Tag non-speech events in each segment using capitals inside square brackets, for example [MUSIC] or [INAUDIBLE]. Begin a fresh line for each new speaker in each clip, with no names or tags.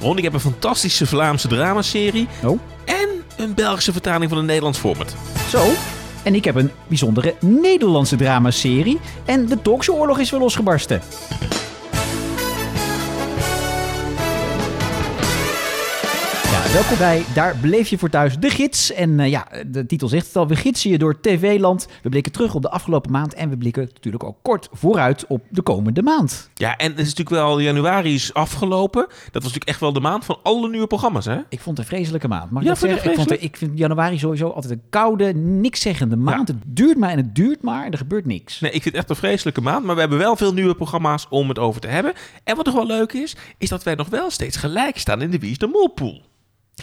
Want ik heb een fantastische Vlaamse dramaserie
Oh.
en een Belgische vertaling van een Nederlands format.
Zo. En ik heb een bijzondere Nederlandse dramaserie. En de Turkse oorlog is weer losgebarsten. Ja, Welkom bij Daar bleef je voor thuis, de gids. En eh, ja, de titel zegt het al, we gidsen je door TV-land. We blikken terug op de afgelopen maand en we blikken natuurlijk ook kort vooruit op de komende maand.
Ja, en het is natuurlijk wel, januari is afgelopen. Dat was natuurlijk echt wel de maand van alle nieuwe programma's, hè?
Ik vond het een vreselijke maand. Mag ik
Ja,
dat
vond je
zeggen? Ik, vond,
vreselijk?
ik vind januari sowieso altijd een koude, nikszeggende maand. Het duurt maar en het duurt maar en er gebeurt niks.
Nee, ik vind het echt een vreselijke maand. Maar we hebben wel veel nieuwe programma's om het over te hebben. En wat toch wel leuk is, is dat wij nog wel steeds gelijk staan in de Wie is de Molpool.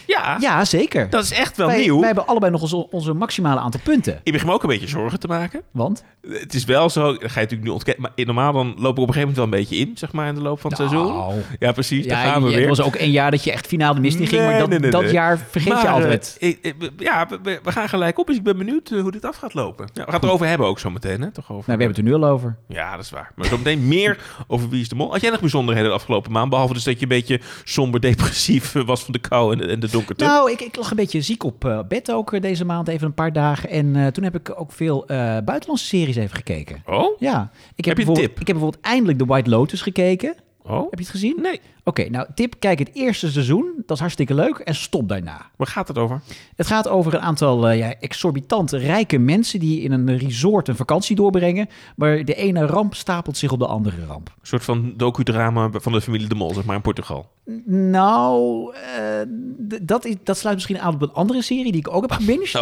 Ja,
Ja, zeker.
dat is echt wel
wij,
nieuw.
wij hebben allebei nog onze, onze maximale aantal punten.
Ik begin me ook een beetje zorgen te maken.
Want
Het is wel zo, dat ga je natuurlijk nu ontkennen. Maar normaal dan loop ik op een gegeven moment wel een beetje in, zeg maar, in de loop van het seizoen.
Nou,
Ja, precies, daar
ja,
gaan we
je-
weer.
het was ook een jaar dat je echt finale mist in ging.
Nee,
maar dat,
nee, nee,
dat
nee.
jaar vergeet je
Maar,
altijd.
eh, ik- ik- ja, we, we- we gaan gelijk op, dus ik ben benieuwd eh, hoe dit af gaat lopen. Ja, we gaan het erover hebben ook zo meteen, hè? Toch over...
Nou, we hebben het er nu al over.
Ja, dat is waar. Maar zo meteen meer over Wie is de Mol. Had jij nog bijzonderheden de afgelopen maand? Behalve dus dat je een beetje somber depressief eh, was van de kou en de, en de donkerte.
Nou, ik, ik lag een beetje ziek op eh, bed ook eh, deze maand, even een paar dagen. En eh, toen heb ik ook veel eh, buitenlandse series even gekeken.
Oh?
Ja,
Heb
ik
je een
bijvoorbeeld-
tip?
Ik heb bijvoorbeeld eindelijk The White Lotus gekeken.
Oh?
Heb je het gezien?
Nee.
Oké, nou tip, kijk het eerste seizoen. Dat is hartstikke leuk. En stop daarna.
Waar gaat het over?
Het gaat over een aantal eh, ja, exorbitant rijke mensen die in een resort een vakantie doorbrengen. Maar de ene ramp stapelt zich op de andere ramp.
Een soort van docudrama van de familie de Mol, zeg maar, in Portugal.
N- Nou, eh, d- dat, is, dat sluit misschien aan op een andere serie die ik ook heb gebinged.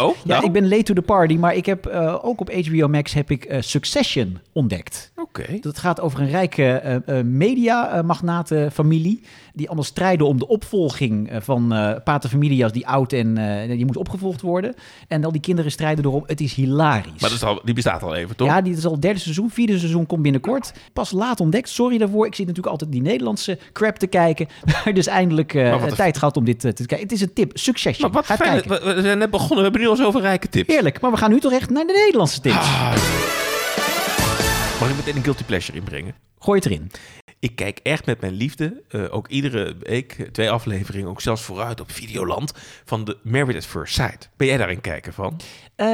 [LAUGHS] Oh,
Ja,
nou?
ik ben late to the party, maar ik heb eh, ook op HBO Max heb ik eh, Succession ontdekt.
Oké.
Dat gaat over een rijke eh eh, media-magnatenfamilie. Die allemaal strijden om de opvolging eh, van eh pater familias die oud en eh, die moet opgevolgd worden. En al die kinderen strijden erom. Het is hilarisch.
Maar dat is al, die bestaat al even, toch?
ja, die is al derde seizoen, vierde seizoen komt binnenkort. Pas laat ontdekt, sorry daarvoor. Ik zit natuurlijk altijd die Nederlandse crap te kijken. [LAUGHS] Maar dus eindelijk eh,
Maar wat een-
tijd gehad om dit eh, te kijken. Het is een tip, succesje.
maar wat
Ga het
fijn.
kijken.
We, we zijn net begonnen, we Ah. hebben nu al zoveel rijke tips.
Heerlijk, maar we gaan nu toch echt naar de Nederlandse tips.
Mag ik meteen een guilty pleasure inbrengen?
Gooi het erin.
Ik kijk echt met mijn liefde, eh, ook iedere week, eh, twee afleveringen, ook zelfs vooruit op Videoland, van de Married at First Sight. Ben jij daar een kijker van?
Eh,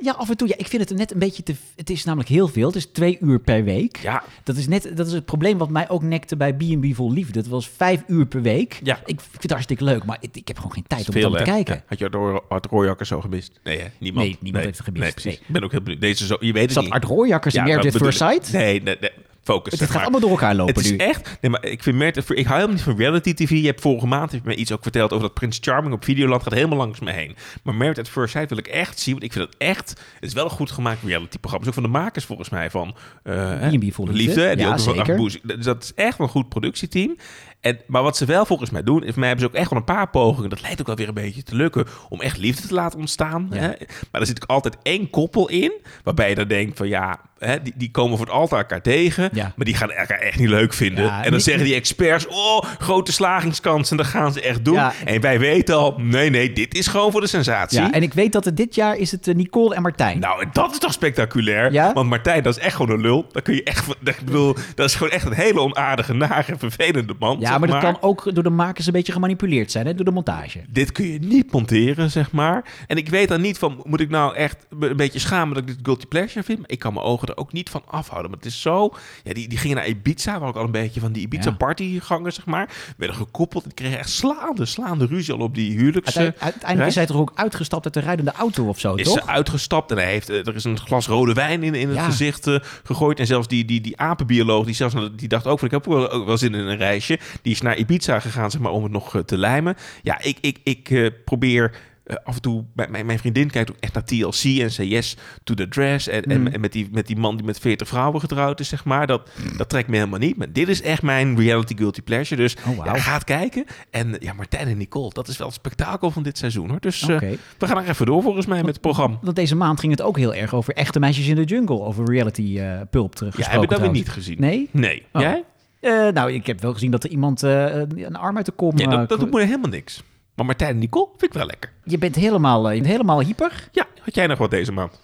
ja, af en toe. Ja, ik vind het net een beetje te... Het is namelijk heel veel. Het is twee uur per week.
Ja.
Dat is net dat is het probleem wat mij ook nekte bij B&B Vol Liefde. Dat was vijf uur per week.
Ja.
Ik, ik vind het hartstikke leuk, maar ik, ik heb gewoon geen tijd om
Veel,
dat te
hè?
kijken.
Ja. Had je Art- Art Rooijakker zo gemist? Nee, hè? niemand.
Nee, niemand heeft het gemist.
Nee, precies.
Nee.
Ik ben ook heel benieuwd. Deze zo, je weet het
Zat
niet.
Art Rooijakkers in
Ja,
Married
dat
at First
bedoel ik.
Sight?
Nee, nee, nee. Focus.
Het,
zeg
gaat
maar.
allemaal door elkaar lopen
Het is
nu.
echt... Nee, maar ik vind Merit... Ik hou helemaal niet van reality tv. Je hebt vorige maand heeft me iets ook verteld over dat Prins Charming op Videoland gaat helemaal langs me heen. Maar Merit at First Sight wil ik echt zien, want ik vind het echt... Het is wel een goed gemaakt reality programma. Het is ook van de makers volgens mij van... eh, hè,
B&B voor Liefde.
Liefde. en die
Ja,
ook nog wel
zeker.
Ach Boes. Dus dat is echt wel een goed productieteam. En, maar wat ze wel volgens mij doen, is voor mij hebben ze ook echt wel een paar pogingen. Dat lijkt ook wel weer een beetje te lukken om echt liefde te laten ontstaan.
Ja.
Hè? Maar er zit ook altijd één koppel in, waarbij je dan denkt van ja, hè, die, die komen voor het altijd elkaar tegen.
Ja.
Maar die gaan elkaar echt niet leuk vinden.
Ja,
en dan
niet-
zeggen die experts, oh, grote slagingskans. En dan gaan ze echt doen.
Ja.
En wij weten al, nee, nee, dit is gewoon voor de sensatie.
Ja, en ik weet dat het dit jaar is het eh, Nicole en Martijn.
[LAUGHS] Nou, en dat is toch spectaculair?
Ja?
Want Martijn, dat is echt gewoon een lul. Dat kun je echt... van- Ik bedoel, dat is gewoon echt een hele onaardige, nare, vervelende man.
ja,
zeg
maar dat kan ook door de makers een beetje gemanipuleerd zijn, hè, door de montage.
Dit kun je niet monteren, zeg maar. En ik weet dan niet van, moet ik nou echt me een beetje schamen dat ik dit guilty pleasure vind? Maar ik kan mijn ogen er ook niet van afhouden. Maar het is zo... Ja, die, die gingen naar Ibiza, waar ook al een beetje van die
Ja.
Ibiza-partygangers, zeg maar. Werden gekoppeld en kregen echt slaande, slaande ruzie al op die huwelijks...
Uiteindelijk, uiteindelijk is
reis.
zij toch ook uitgestapt uit de rijdende auto of zo,
is
toch?
ze uitgestapt en hij heeft, eh, er is een glas rode wijn in, in het
Ja.
gezicht eh, gegooid. En zelfs die, die, die apenbioloog, die, zelfs, die dacht ook van ik heb ook wel, ook wel zin in een reisje. Die is naar Ibiza gegaan zeg maar, om het nog eh, te lijmen. Ja, ik, ik, ik eh, probeer... eh, af en toe, bij- mijn, mijn vriendin kijkt ook echt naar TLC en say yes to the dress. En,
Mm.
en, en met, die, met die man die met 40 vrouwen getrouwd is, zeg maar. Dat, dat trekt me helemaal niet. Maar dit is echt mijn reality guilty pleasure. Dus
Oh, wauw.
ja, ga het kijken. En eh, ja, Martijn en Nicole, dat is wel het spektakel van dit seizoen. hoor. Dus eh,
Oké.
we gaan er even door volgens mij met het programma.
Want deze maand ging het ook heel erg over echte meisjes in de jungle, over reality eh pulp
Ja,
teruggesproken.
heb ik dat weer
trouwens.
niet gezien.
Nee?
Nee.
Oh.
Jij?
Eh, nou, ik heb wel gezien dat er iemand eh, een een arm uit de kom...
Ja,
eh,
dat, dat doet me helemaal niks. Maar Martijn en Nicole vind ik wel lekker.
Je bent helemaal, eh, helemaal hyper.
Ja, had jij nog wat deze maand?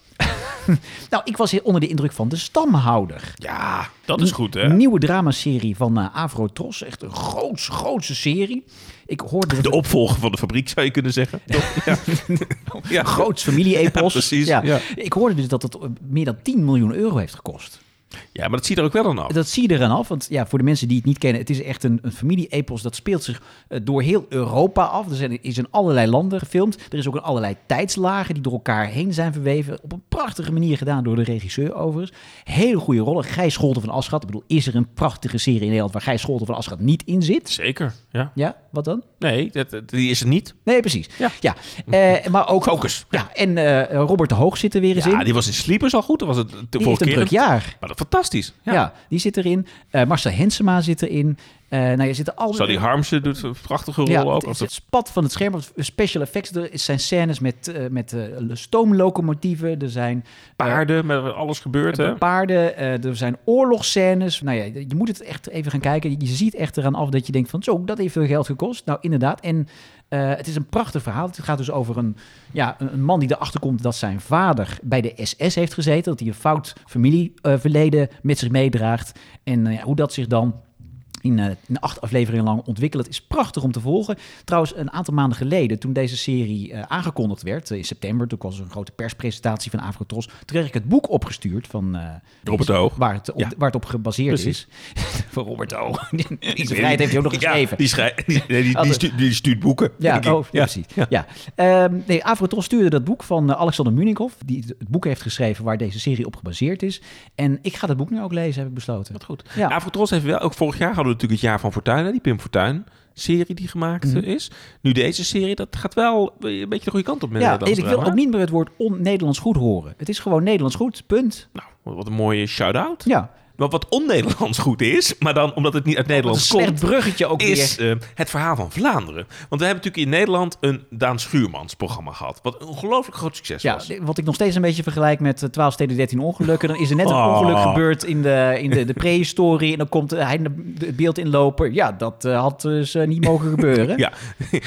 nou, ik was onder de indruk van De Stamhouder.
Ja, dat is goed, hè?
Een nieuwe dramaserie van eh, Avro Tros. Echt een groots, grootse serie. Ik hoorde...
De opvolger van de fabriek, zou je kunnen zeggen. Toch? Ja.
[LAUGHS]
ja.
Groots
[LAUGHS]
familie-epos.
Ja, precies, ja.
Ik hoorde dus dat het eh, meer dan 10 miljoen euro heeft gekost.
ja, maar dat ziet er ook wel dan af.
Dat zie je eraan af, want ja, voor de mensen die het niet kennen, het is echt een, een familie-epos. Dat speelt zich eh, door heel Europa af. Er zijn, is in allerlei landen gefilmd. Er is ook een allerlei tijdslagen die door elkaar heen zijn verweven. Op een prachtige manier gedaan door de regisseur overigens. Hele goede rollen. Gijs Scholten van Aschat. Ik bedoel, is er een prachtige serie in Nederland waar Gijs Scholten van Aschat niet in zit?
Zeker, ja.
Ja, wat dan?
Nee, dat, dat- die is het niet.
Nee, precies. Ja,
Ja.
eh, maar ook...
Focus.
Ja, en eh, Robert de Hoog zit er weer eens in.
Ja, die was in Sleepers al goed. Dat was het de
die heeft
vorige
een
keer.
druk jaar.
Maar dat fantastisch.
Ja.
Ja.
die zit erin. Eh Marcel Hensema zit erin. Eh nou, je zit er al...
Sally Harmsen doet een prachtige rol
Ja,
ook.
het,
Of
het,
dat-
spat van het scherm. want Special effects, er zijn scènes met, eh, met eh, stoomlocomotieven, er zijn
paarden, met alles gebeurt, hè?
eh, paarden, eh, er zijn oorlogsscènes. Nou ja, je moet het echt even gaan kijken. Je, je ziet echt eraan af dat je denkt van zo, dat heeft veel geld gekost. Nou, inderdaad. En eh, het is een prachtig verhaal. Het gaat dus over een, ja, een, een man die erachter komt dat zijn vader bij de SS heeft gezeten. Dat hij een fout familieverleden met zich meedraagt. En eh, ja, hoe dat zich dan in, eh, in acht afleveringen lang ontwikkeld. Het is prachtig om te volgen. Trouwens, een aantal maanden geleden, toen deze serie eh, aangekondigd werd, eh, in september, toen was er een grote perspresentatie van Avrotros, toen kreeg ik het boek opgestuurd van eh,
Robert O.
Waar het, op,
Ja.
waar het op gebaseerd
Precies.
is. van Robert O. [LAUGHS] Die vrijheid heeft hij ook nog
Ja,
geschreven.
die, schrijft, die, nee, die,
Altijd.
die, stuurt, die stuurt boeken.
Ja,
denk ik.
oh, ja, precies. Ja. Ehm, nee, Avrotros stuurde dat boek van eh, Alexander Munikov, die het- het boek heeft geschreven waar deze serie op gebaseerd is. En ik ga dat boek nu ook lezen, heb ik besloten.
Wat goed.
Ja.
Ja. Avrotros heeft wel, ook vorig jaar hadden we natuurlijk het jaar van Fortuyn, hè, die Pim Fortuyn serie die gemaakt
Mhm.
eh, is. Nu deze serie, dat gaat wel eh, een beetje de goede kant op met
Ja,
Nederlands
ik wil
drama.
ook niet meer het woord on-Nederlands goed horen. Het is gewoon Nederlands goed, punt.
Nou, wat wat een mooie shout-out.
Ja.
Maar wat on-Nederlands goed is, maar dan omdat het niet uit
Een
Nederlands
slecht
komt,
bruggetje ook
is
weer.
eh, het verhaal van Vlaanderen. Want we hebben natuurlijk in Nederland een Daan Schuurmans programma gehad, wat een ongelooflijk groot succes
Ja,
was.
wat ik nog steeds een beetje vergelijk met eh, 12 steden 13 ongelukken. Dan is er net een
Oh.
ongeluk gebeurd in de, in de, de prehistorie. En dan komt eh, hij in de- het beeld inlopen. Ja, dat eh, had dus eh, niet mogen
[LAUGHS]
gebeuren.
Ja,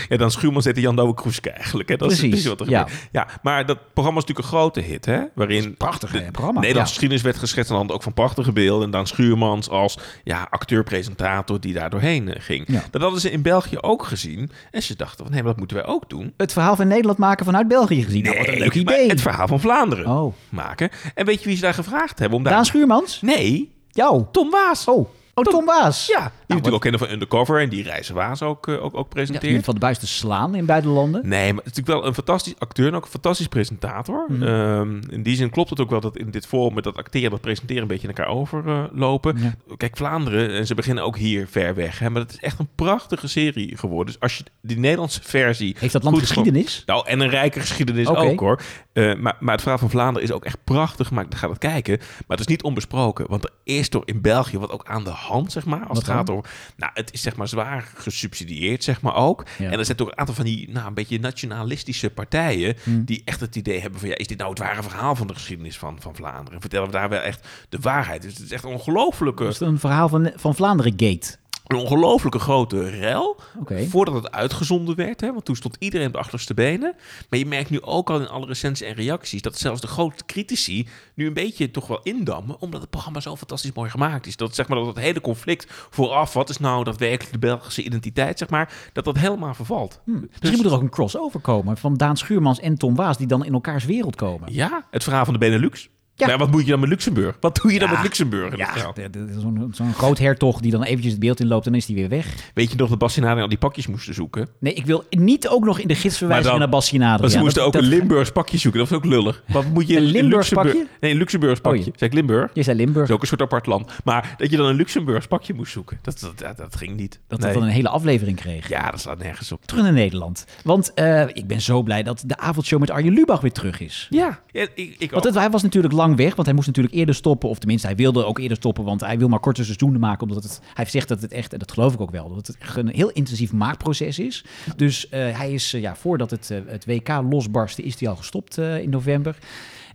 ja dan Schuurman zette Jan Douwe Kroeske eigenlijk. Hè? Dat
Precies,
is precies wat er
ja.
gebeurt. Ja, maar dat programma is natuurlijk een grote hit. Hè? Waarin
prachtig,
de
hè, programma,
Nederlandse
ja.
geschiedenis werd geschetst aan de hand ook van prachtige beelden. En dan Schuurmans als ja, acteur-presentator die daar doorheen eh, ging.
Ja.
Dat hadden ze in België ook gezien. En ze dachten van, hé, maar dat moeten wij ook doen. Nou,
Het verhaal van Nederland maken vanuit België gezien. Nou, wat een leuk
Nee, maar
idee.
Het Nou. verhaal van Vlaanderen
Oh.
maken. En weet je wie ze daar gevraagd hebben? Om daar...
Daan Schuurmans?
Nee,
Jou?
Tom Waas.
Oh, oh Tom Waas.
Ja, die we
wat-
natuurlijk ook kennen van Undercover en die Reizen Waas ook, eh, ook, ook presenteert.
Van de buis te slaan in buitenlanden.
Nee, maar het is natuurlijk wel een fantastisch acteur en ook een fantastisch presentator.
Mhm.
Ehm, in die zin klopt het ook wel dat in dit forum met dat acteren en dat presenteren een beetje in elkaar overlopen. Kijk, Vlaanderen, en ze beginnen ook hier ver weg. Hè, maar het is echt een prachtige serie geworden. Dus als je die Nederlandse versie...
Heeft dat land
goed-
geschiedenis?
Nou, en een rijke geschiedenis
Oké.
ook hoor. Eh, maar, maar het verhaal van Vlaanderen is ook echt prachtig gemaakt. Dan gaat het kijken. Maar het is niet onbesproken. Want er is door in België wat ook aan de hand, zeg maar. Als
Wat
het gaat over. Nou, het is zeg maar zwaar gesubsidieerd, zeg maar ook.
Ja.
En er zijn toch een aantal van die, nou, een beetje nationalistische partijen.
Hm.
die echt het idee hebben van. ja, is dit nou het ware verhaal van de geschiedenis van, van Vlaanderen? Vertellen we daar wel echt de waarheid? Dus het is echt een ongelofelijke.
Dat is een verhaal van, van Vlaanderen Gate.
Een ongelofelijke grote rel.
Oké.
Voordat het uitgezonden werd. Hè, want toen stond iedereen op de achterste benen. Maar je merkt nu ook al in alle recensies en reacties. dat zelfs de grote critici. nu een beetje toch wel indammen. omdat het programma zo fantastisch mooi gemaakt is. Dat zeg maar dat het hele conflict vooraf. wat is nou daadwerkelijk de Belgische identiteit, zeg maar. dat dat helemaal vervalt.
Hmm.
Dus-
Misschien moet er ook een crossover komen van Daan Schuurmans en Tom Waas, die dan in elkaars wereld komen.
ja, het verhaal van de Benelux.
Ja.
Ja. wat moet je dan met Luxemburg? Wat doe je dan
Ja.
met Luxemburg? in dit
Ja,
verhaal?
d- d- zo'n zo'n groot hertog die dan eventjes het beeld inloopt en dan is die weer weg.
Weet je nog dat Bassinari al die pakjes moesten zoeken?
Nee, ik wil niet ook nog in de gidsverwijzing
Maar dan-
naar Bassinade.
Maar ze moesten ook een Limburgs pakje zoeken. Dat was ook lullig. Wat moet je
Een Limburgs
Luxemburg-
pakje?
Nee, een Luxemburgs pakje.
Oh, ja.
Zeg ik Limburg?
Je zei Limburg.
Dat is ook een soort apart land. Maar dat je dan een Luxemburgs pakje moest zoeken, dat, dat, dat, dat ging niet.
Dat
Nee.
dat dan een hele aflevering kreeg.
Ja, dat slaat nergens op.
Terug naar Nederland. Want eh, ik ben zo blij dat de avondshow met Arjen Lubach weer terug is.
Ja, ja ik, ik ook.
Want het, hij was natuurlijk lang weg, want hij moest natuurlijk eerder stoppen. Of tenminste, hij wilde ook eerder stoppen, want hij wil maar korte seizoenen maken. Omdat het, hij zegt dat het echt, en dat geloof ik ook wel, dat het echt een heel intensief maakproces is. Dus eh, hij is, eh, ja, voordat het, eh, het WK losbarstte, is hij al gestopt eh, in november.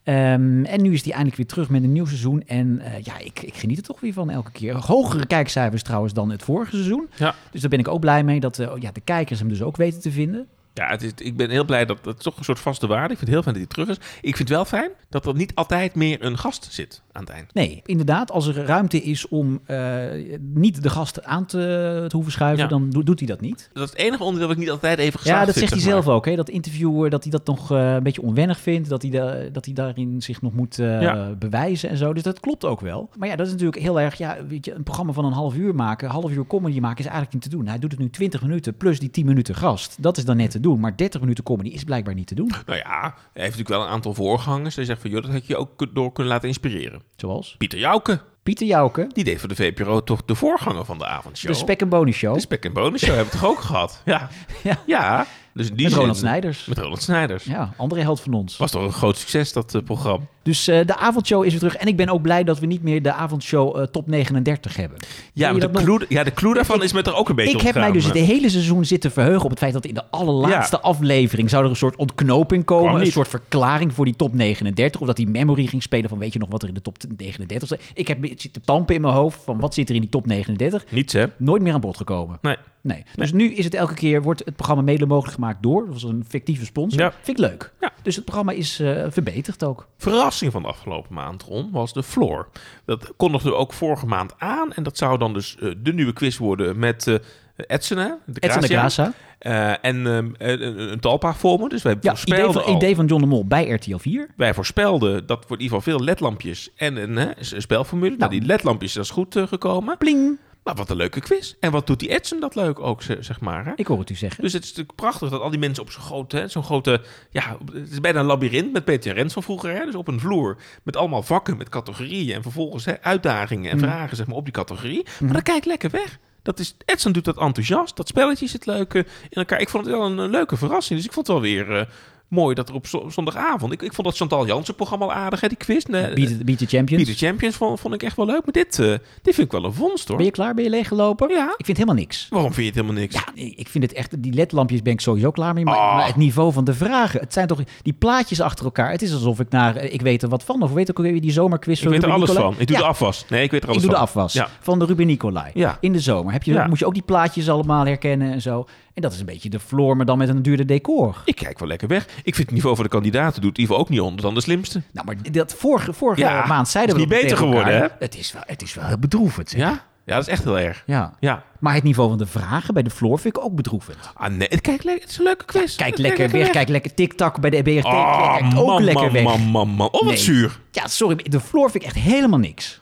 Ehm, en nu is hij eindelijk weer terug met een nieuw seizoen. En eh, ja, ik, ik geniet er toch weer van elke keer. Hogere kijkcijfers trouwens dan het vorige seizoen.
Ja.
oh, Dus daar ben ik ook blij mee dat eh, ja, de kijkers hem dus ook weten te vinden.
Ja, het is, ik ben heel blij dat dat is toch een soort vaste waarde. Ik vind het heel fijn dat hij terug is. Ik vind wel fijn dat er niet altijd meer een gast zit aan het eind.
Nee, inderdaad, als er ruimte is om eh, niet de gast aan te, te hoeven schuiven,
Ja.
dan do- doet hij dat niet.
Dat is het enige onderdeel wat ik niet altijd even geslaagd
Ja, dat
vind,
zegt hij
zeg maar.
zelf ook. Hè? Dat interviewer dat hij dat nog eh, een beetje onwennig vindt. Dat hij, da- dat hij daarin zich nog moet eh,
Ja.
bewijzen en zo. Dus dat klopt ook wel. Maar ja, dat is natuurlijk heel erg... Ja, weet je, een programma van een half uur maken, een half uur comedy maken... is eigenlijk niet te doen. Hij doet het nu 20 minuten plus die 10 minuten gast. Dat is dan net te doen. Maar 30 minuten comedy is blijkbaar niet te doen.
Nou ja, hij heeft natuurlijk wel een aantal voorgangers. Hij zegt van, joh, dat had je ook kun- door kunnen laten inspireren.
Zoals
Pieter Jouke,
Pieter Jouke,
die deed voor de VPRO toch de voorganger van de avondshow.
de Spek en Bonen Show.
De spek en bonen show hebben we toch ook gehad? Ja.
Ja.
ja. Dus in die
Met
zin-
Ronald Snijders.
Met Ronald Snijders.
Ja, andere held van ons.
Was toch een groot succes, dat eh, programma.
Dus eh, de avondshow is weer terug. En ik ben ook blij dat we niet meer de avondshow eh, top 39 hebben. Ken
Ja,
je
want de
dat nog?
clue, ja, de clue daarvan is met er ook een beetje
Ik heb mij
ontgaan,
dus het
maar-
hele seizoen zitten verheugen op het feit dat in de allerlaatste aflevering zou er een soort ontknoping
Kwam
komen. Een
niet.
soort verklaring voor die top 39. Of dat die memory ging spelen van weet je nog wat er in de top 39 staat. Ik heb het zitten tampen in mijn hoofd van wat zit er in die top 39.
Niets, hè?
Nooit meer aan bod gekomen.
Nee.
Nee. Dus nu is het elke keer, wordt het programma mede mogelijk gemaakt door. Dat was een fictieve sponsor.
Ja.
Vind ik leuk.
Ja.
Dus het programma is eh, verbeterd ook.
Verrassing van de afgelopen maand, Ron, was de floor. Dat kondigden we ook vorige maand aan. En dat zou dan dus eh, de nieuwe quiz worden met eh Edsena, de
Edson de
Gracia.
Graça.
Eh, en ehm, eh, een, een talpa voor me. Dus wij
Ja, idee
voorspelden
van,
al.
idee van John de Mol bij RTL 4.
Wij voorspelden dat wordt in ieder geval veel ledlampjes en een, hè, s- een spelformule. Nou,
Nou.
die ledlampjes, dat is goed eh, gekomen.
Pling.
Maar wat een leuke quiz. En wat doet die Edson dat leuk ook, ze- zeg maar. Hè?
Ik hoor het u zeggen.
Dus het is natuurlijk prachtig dat al die mensen op zo'n grote, hè, zo'n grote, ja, op- het is bijna een labyrint met Peter Rens van vroeger. Hè? Dus op een vloer met allemaal vakken, met categorieën en vervolgens hè, uitdagingen en
Mm.
vragen zeg maar, op die categorie. Maar dat kijkt lekker weg. Dat is, Edson doet dat enthousiast, dat spelletje zit leuk eh, in elkaar. Ik vond het wel een, eh, leuke verrassing, dus ik vond het wel weer eh, mooi dat er op zo- zondagavond, ik, ik vond dat Chantal Jansen programma al aardig, hè, die quiz. Nee,
Beat, the- Beat the Champions.
Eh, Beat the Champions vond, vond ik echt wel leuk, maar dit, eh, dit vind ik wel een vondst hoor.
Ben je klaar? Ben je leeggelopen?
Ja.
Ik vind helemaal niks.
Waarom vind je het helemaal niks?
Ja, nee, ik vind het echt, die ledlampjes ben ik sowieso klaar mee. Maar,
Ah.
maar het niveau van de vragen, het zijn toch die plaatjes achter elkaar. Het is alsof ik naar, eh, ik weet er wat van. Of weet ik ook weer die zomerquiz
Ik
van
weet er
Ruben
alles
Nicolai.
van. Ik doe
Ja,
de afwas. Nee, ik weet er
ik
alles
doe de
van.
afwas
Ja.
van de Ruben Nicolai.
Ja.
In de zomer heb je,
Ja.
moet je ook die plaatjes allemaal herkennen en zo. En dat is een beetje de floor, maar dan met een duurder decor.
Ik kijk wel lekker weg. Ik vind het niveau van de kandidaten doet Ivo ook niet onder dan de slimste.
Nou, maar dat vorige, vorige
Ja,
maand zeiden we
is niet
dat
beter
tegen elkaar.
geworden,
Het is wel, het is wel heel bedroevend. zeg.
Ja? Ja, dat is echt heel erg.
ja.
Ja.
Maar het niveau van de vragen bij de floor vind ik ook bedroevend.
Ah nee, het, kijkt le- het is een leuke quiz.
Kijk
Het
lekker weg, kijk lekker tik-tak bij de BRT. kijkt ook
Ah, man,
lekker
man,
weg.
man, man, man. Oh, wat
Nee.
zuur.
Ja, sorry, maar de floor vind ik echt helemaal niks.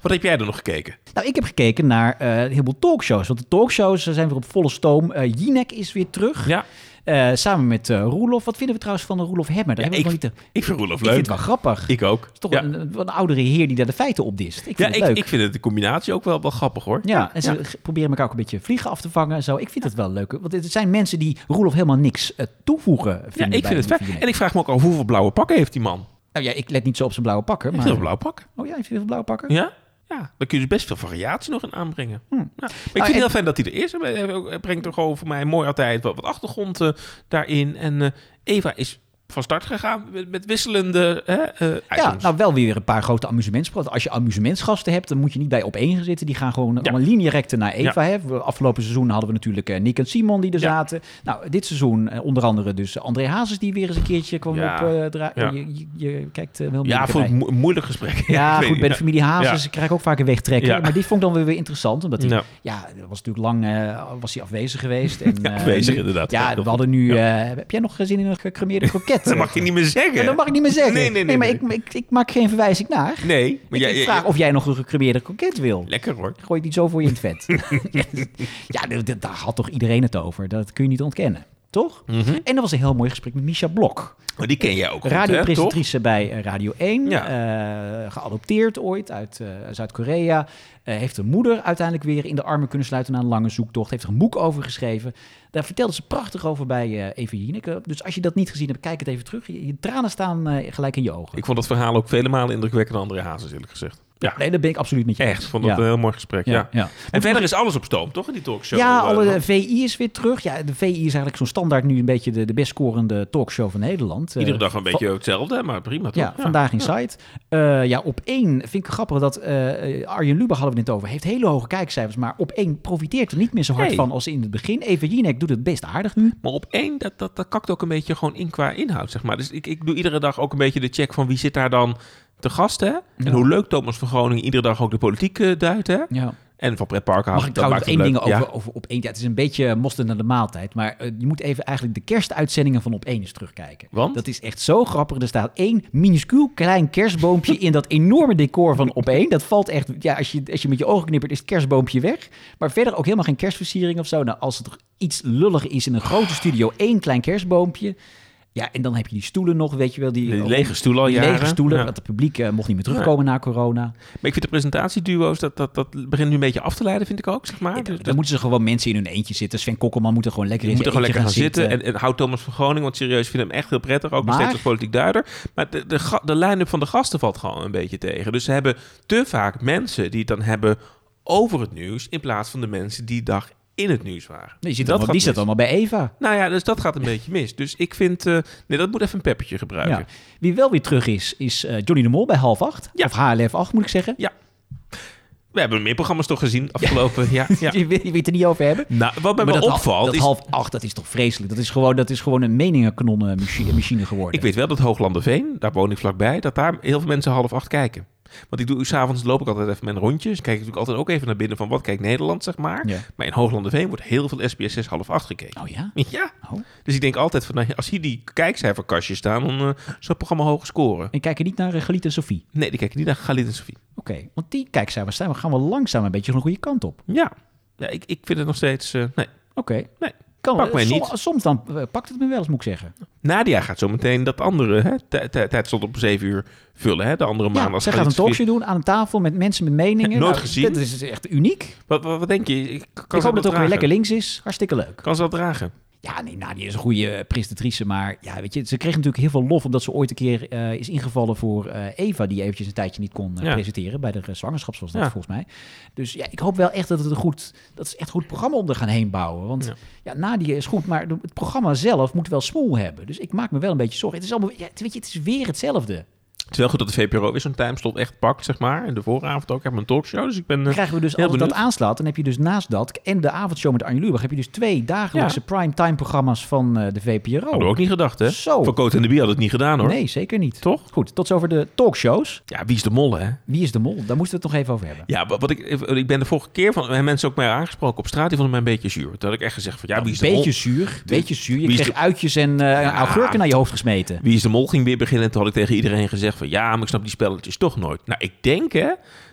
Wat heb jij er nog gekeken?
Nou, ik heb gekeken naar eh, een heleboel talkshows. Want de talkshows eh, zijn weer op volle stoom. Eh Jinek is weer terug.
Ja,
Eh, samen met eh Roelof. Wat vinden we trouwens van de Roelof Hemmer? Daar
ja
hebben
ik,
we nog niet te-
ik vind Roelof
Ik vind
leuk.
het wel grappig.
Ik ook.
Het is toch
ja.
een, een, een oudere heer die daar de feiten op dist. Ik vind
Ja,
het
ik,
leuk.
ik vind het de combinatie ook wel, wel grappig hoor.
ja, en ze g- proberen elkaar ook een beetje vliegen af te vangen en zo. Ik vind het wel leuk. Want het zijn mensen die Roelof helemaal niks eh, toevoegen.
Ja,
vinden
ik
bij
vind het
Roelof
fijn.
Jinek.
En ik vraag me ook af hoeveel blauwe pakken heeft die man.
Nou ja, ik let niet zo op zijn blauwe pakken.
Heeft
Maar...
heel veel blauwe pakken.
Oh ja, heeft hij veel blauwe pakken?
Ja? Ja, dan kun je dus best veel variatie nog in aanbrengen. Ja. Maar ik vind
Hm. Nou, en-
het heel fijn dat hij er is. Hij- hij- Hij brengt er gewoon voor mij mooi altijd wat, wat achtergrond eh, daarin. En eh, Eva is van start gegaan met, met wisselende hè, eh,
Ja,
items.
nou wel weer een paar grote amusementsgasten. Als je amusementsgasten hebt, dan moet je niet bij op één gaan zitten. Die gaan gewoon allemaal linierekte naar Eva. Hè. We- Afgelopen seizoen hadden we natuurlijk eh, Nick en Simon die er
Ja.
zaten. Nou, dit seizoen eh, onder andere dus André Hazes die weer eens een keertje kwam
Ja.
op. eh, dra-
Ja.
je, je, je kijkt eh, wel
ja,
moeilijk
voor
erbij.
een mo- moeilijk [LAUGHS] gesprek.
Ja,
Ik weet
goed, bij de
niet.
familie Hazes krijg ik ook vaak een wegtrekker.
Ja.
Maar die vond ik dan weer weer interessant, omdat hij...
Ja.
Ja, dat was natuurlijk lang eh, was hij afwezig geweest. En, eh,
afwezig,
nu-
inderdaad. [LAUGHS] Ja,
Ja, we
dat-
hadden nu... eh, heb jij nog zin in een gecremeerde
[LAUGHS]
kroket?
Dat mag je niet meer zeggen.
Ja, dat mag ik niet meer zeggen.
Nee, nee, nee,
maar
nee.
Ik, ik, ik maak geen verwijzing naar.
Nee, maar
Maar
jij,
ik
jij-
vraag
jij-
of jij nog een gecremeerde kroket wil.
Lekker hoor.
Gooi het niet zo voor je in het vet.
[LAUGHS]
ja, d- d- daar had toch iedereen het over. Dat kun je niet ontkennen. Toch?
Mhm.
En dat was een heel mooi gesprek met Misha Blok.
Maar die ken jij ook goed, hè, toch?
Radiopresentatrice bij eh, Radio 1.
Ja.
eh, geadopteerd ooit uit eh, Zuid-Korea. Eh, heeft een moeder uiteindelijk weer in de armen kunnen sluiten na een lange zoektocht. Heeft er een boek over geschreven. Daar vertelde ze prachtig over bij eh Eva Jinek. Dus als je dat niet gezien hebt, kijk het even terug. Je, je tranen staan eh, gelijk in je ogen.
Ik vond dat verhaal ook vele malen indrukwekkend dan André Hazes, eerlijk gezegd. Ja.
Nee, dat ben ik absoluut met je
Echt,
eens.
vond dat
Ja.
een heel mooi gesprek. Ja.
Ja, ja.
En verder is alles op stoom, toch? In die talkshow.
Ja,
Eh,
alle
want-
VI is weer terug. Ja, de VI is eigenlijk zo'n standaard nu een beetje de, de best scorende talkshow van Nederland.
Iedere
Eh,
dag een beetje hetzelfde, maar prima toch?
Ja, vandaag in site. Eh, ja, op één vind ik grappig dat eh, Arjen Lubach hadden we het net over. Heeft hele hoge kijkcijfers, maar op één profiteert er niet meer zo hard
Nee.
van als in het begin. Eva Jinek doet het best aardig nu.
Maar op één, dat, dat, dat kakt ook een beetje gewoon in qua inhoud, zeg maar. Dus ik, ik doe iedere dag ook een beetje de check van wie zit daar dan te gast, hè? En
Ja.
hoe leuk Thomas van Groningen iedere dag ook de politiek eh, duidt, hè?
Ja.
En van Brett Parker.
Mag ik trouwens nog één ding over,
Ja.
over op één? Ja, het is een beetje mosterd naar de maaltijd, maar eh, je moet even eigenlijk de kerstuitzendingen van op één eens terugkijken.
Want?
Dat is echt zo grappig. Er staat één minuscuul klein kerstboompje in dat enorme decor van op één. Dat valt echt, ja, als je, als je met je ogen knippert is het kerstboompje weg. Maar verder ook helemaal geen kerstversiering of zo. Nou, als het iets lullig is in een grote studio, één klein kerstboompje. Ja, en dan heb je die stoelen nog, weet je wel. Die,
Die lege stoel al
die
jaren.
lege stoelen,
Ja.
want het publiek eh, mocht niet meer terugkomen na corona.
Maar ik vind de presentatieduo's, dat, dat, dat begint nu een beetje af te leiden, vind ik ook, zeg maar.
Ja,
Dus-
dan moeten ze gewoon mensen in hun eentje zitten. Sven Kokkelman moet er gewoon lekker
Je
in
moet er
zijn
gewoon lekker
eentje
gaan zitten.
gaan
En, en houd Thomas van Groningen, want serieus, ik vind hem echt heel prettig. Ook nog
Maar-
steeds als politiek duider. Maar de, de, ga- de line-up van de gasten valt gewoon een beetje tegen. Dus ze hebben te vaak mensen die het dan hebben over het nieuws... in plaats van de mensen die dag in het nieuws waren.
Nee, je zit
dat
allemaal,
gaat
die zit
mis.
allemaal bij Eva.
Nou ja, dus dat gaat
[LAUGHS]
een beetje mis. Dus ik vind... eh, nee, dat moet even een peppertje gebruiken.
Ja. Wie wel weer terug is, is eh, Johnny de Mol bij half acht.
Ja.
Of HLF 8 moet ik zeggen.
We hebben meer programma's toch gezien
[LAUGHS]
afgelopen... Ja, ja.
Je, wil, je wil het er niet over hebben.
Nou, wat mij
Maar
wel
dat,
opvalt
dat
is...
half acht, dat is toch vreselijk. Dat is gewoon, dat is gewoon een
[LAUGHS]
meningenkanonnen-machine machine geworden.
Ik weet wel dat Hooglanderveen, daar woon ik vlakbij, dat daar heel veel mensen half acht kijken. Want ik doe, s'avonds loop ik altijd even mijn rondjes. Kijk Dus ik natuurlijk altijd ook even naar binnen van wat kijkt Nederland, zeg maar.
Ja.
Maar in Hooglanderveen wordt heel veel SBS 6 half acht gekeken.
Oh ja?
[LAUGHS] Ja,
Oh.
dus ik denk altijd van, nou, als hier die kijkcijferkastjes staan, dan eh, zal het programma hoog scoren.
En kijk er niet naar eh, Galit en Sophie.
Nee, die kijken niet naar Galit en Sofie.
Oké, want die kijkcijfers staan. We gaan wel langzaam een beetje de goede kant op.
Ja, ja ik, ik vind het nog steeds... eh, nee.
Oké.
Nee,
Kan,
pakt mij
som-
niet.
Soms dan eh, pakt het me wel eens, moet ik zeggen.
Nadia gaat zo meteen dat andere, hè, tij- tij- tijdstond op zeven uur vullen, hè, de andere maand.
Ja,
als
ze gaat
Galit
een
en Sophie-
talkshow doen aan een tafel met mensen met meningen.
Nooit gezien.
Dat is echt uniek.
Wat, wat, wat denk je? Ik, kan ze
ik hoop dat het ook weer
dragen?
lekker links is. Hartstikke leuk.
Kan ze dat dragen?
Ja, nee, Nadia is een goede eh, presentatrice. Maar ja, weet je, ze kreeg natuurlijk heel veel lof omdat ze ooit een keer eh, is ingevallen voor eh, Eva. Die eventjes een tijdje niet kon eh,
Ja.
presenteren. Bij de eh, zwangerschaps was dat
Ja.
volgens mij. Dus ja, ik hoop wel echt dat het een goed, dat ze echt een goed programma om er gaan heen bouwen. Want ja.
Ja.
Nadia is goed, maar het programma zelf moet wel smoel hebben. Dus ik maak me wel een beetje zorgen. Het is allemaal, ja, het- weet je, het is weer hetzelfde.
Het is wel goed dat de VPRO weer zo'n timeslot echt pakt, zeg maar. En de vooravond ook echt mijn talkshow. Dus ik ben...
Dan
eh,
krijgen we dus,
heel
als het dat
benieuwd.
aanslaat, dan heb je dus naast dat en de avondshow met Arjen Lubach, heb je dus twee dagelijkse
Ja.
primetime programma's van eh, de VPRO.
Hadden we ook niet gedacht, hè?
Zo.
Van Cote en de Bie had het niet gedaan, hoor.
Nee, zeker niet.
Toch?
Goed, tot zover de talkshows.
Ja, wie is de mol, hè?
Wie is de mol? Daar moesten we het nog even over hebben.
Ja, wa- wat ik, eh, ik ben de vorige keer van en mensen ook mij aangesproken op straat. Die vonden mij een beetje zuur. Toen had ik echt gezegd van, ja, wie is de
beetje
mol?
zuur, beetje zuur. Je
Wie is
kreeg
de-
uitjes en eh, augurken naar je hoofd gesmeten.
Wie is de mol ging weer beginnen. En toen had ik tegen iedereen gezegd van, ja, maar ik snap die spelletjes toch nooit. Nou, ik denk, hè,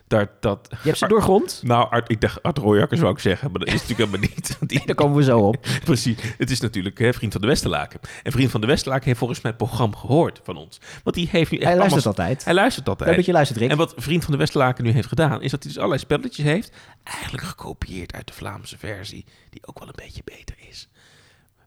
dat... dat
Je hebt ze
[LAUGHS]
doorgrond.
Nou, Art, ik dacht, Art Royakkers wou ik zeggen, maar dat is natuurlijk helemaal niet. [LAUGHS] Want die-
Daar komen we zo op.
[LAUGHS] Precies. Het is natuurlijk hè, Vriend van de Westerlaken. En Vriend van de Westerlaken heeft volgens mij het programma gehoord van ons. Want die heeft nu echt
Hij luistert
allemaal-
altijd.
Hij luistert
Daar
altijd.
beetje luistert, Rick.
En wat Vriend van de Westerlaken nu heeft gedaan, is dat hij dus allerlei spelletjes heeft. Eigenlijk gekopieerd uit de Vlaamse versie, die ook wel een beetje beter is.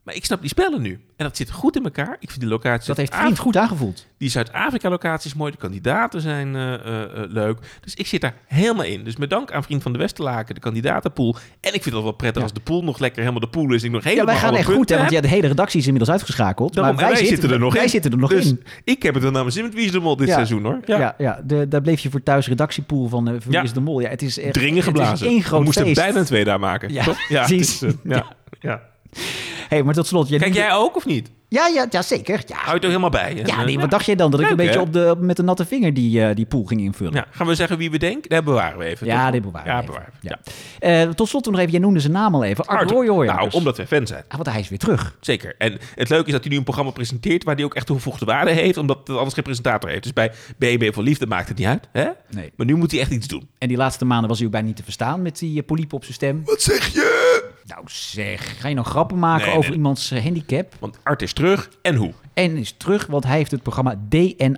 Maar ik snap die spellen nu. En dat zit goed in elkaar. Ik vind die locatie...
Dus Dat heeft
Af-
vriend goed aangevoeld.
die Zuid-Afrika-locaties mooi, de kandidaten zijn eh, eh, eh, leuk. Dus ik zit daar helemaal in. Dus met dank aan Vriend van de Westerlaken, de kandidatenpool. En ik vind het wel prettig als de pool nog lekker helemaal de pool is. en Ik nog
Ja,
helemaal
wij gaan
alle
echt goed, hè?
punten
Want
heb.
ja, de hele redactie is inmiddels uitgeschakeld.
Daarom,
maar
en wij, zitten er nog
wij
in.
zitten er nog
dus
in.
ik heb het er namens in met Wie is de Mol dit
Ja.
seizoen, hoor.
Ja, ja, de, daar bleef je voor thuis redactiepool van eh, Wie
Ja.
is de mol. Ja, het is echt,
Dringen
Het
geblazen.
is één groot
We moesten
feest.
bijna twee daar maken.
Ja,
toch? Ja, het
[LAUGHS] precies.
is, eh, ja. Ja.
Hey, maar tot slot. jij-
Kijk jij ook of niet?
Ja, ja, ja, zeker. Ja,
Houd je er helemaal bij? En,
Ja,
eh,
nee, wat dacht jij dan? Dat ik
Leuk,
een beetje
hè?
op de, op- met de natte vinger die, eh, die pool ging invullen.
Ja. Gaan we zeggen wie we denken? Daar bewaren we even.
Ja,
toch?
dit bewaren we
Ja,
even.
bewaren we.
Ja.
Ja.
Eh, tot slot nog even, jij noemde zijn naam al even. Art
Arthur.
Roy
Nou,
Hoijmakers.
omdat we fan zijn.
Ah, want hij is weer terug.
Zeker. En het leuke is dat hij nu een programma presenteert waar hij ook echt de gevoegde waarde heeft, omdat het anders geen presentator heeft. Dus bij BB voor Liefde maakt het niet uit. Hè?
Nee.
Maar nu moet hij echt iets doen.
En die laatste maanden was hij ook bijna niet te verstaan met die eh, polypen op zijn stem.
Wat zeg je?
Nou zeg, ga je nou grappen maken
Nee,
over
nee.
iemands eh, handicap?
Want Art is terug en hoe?
En is terug, want hij heeft het programma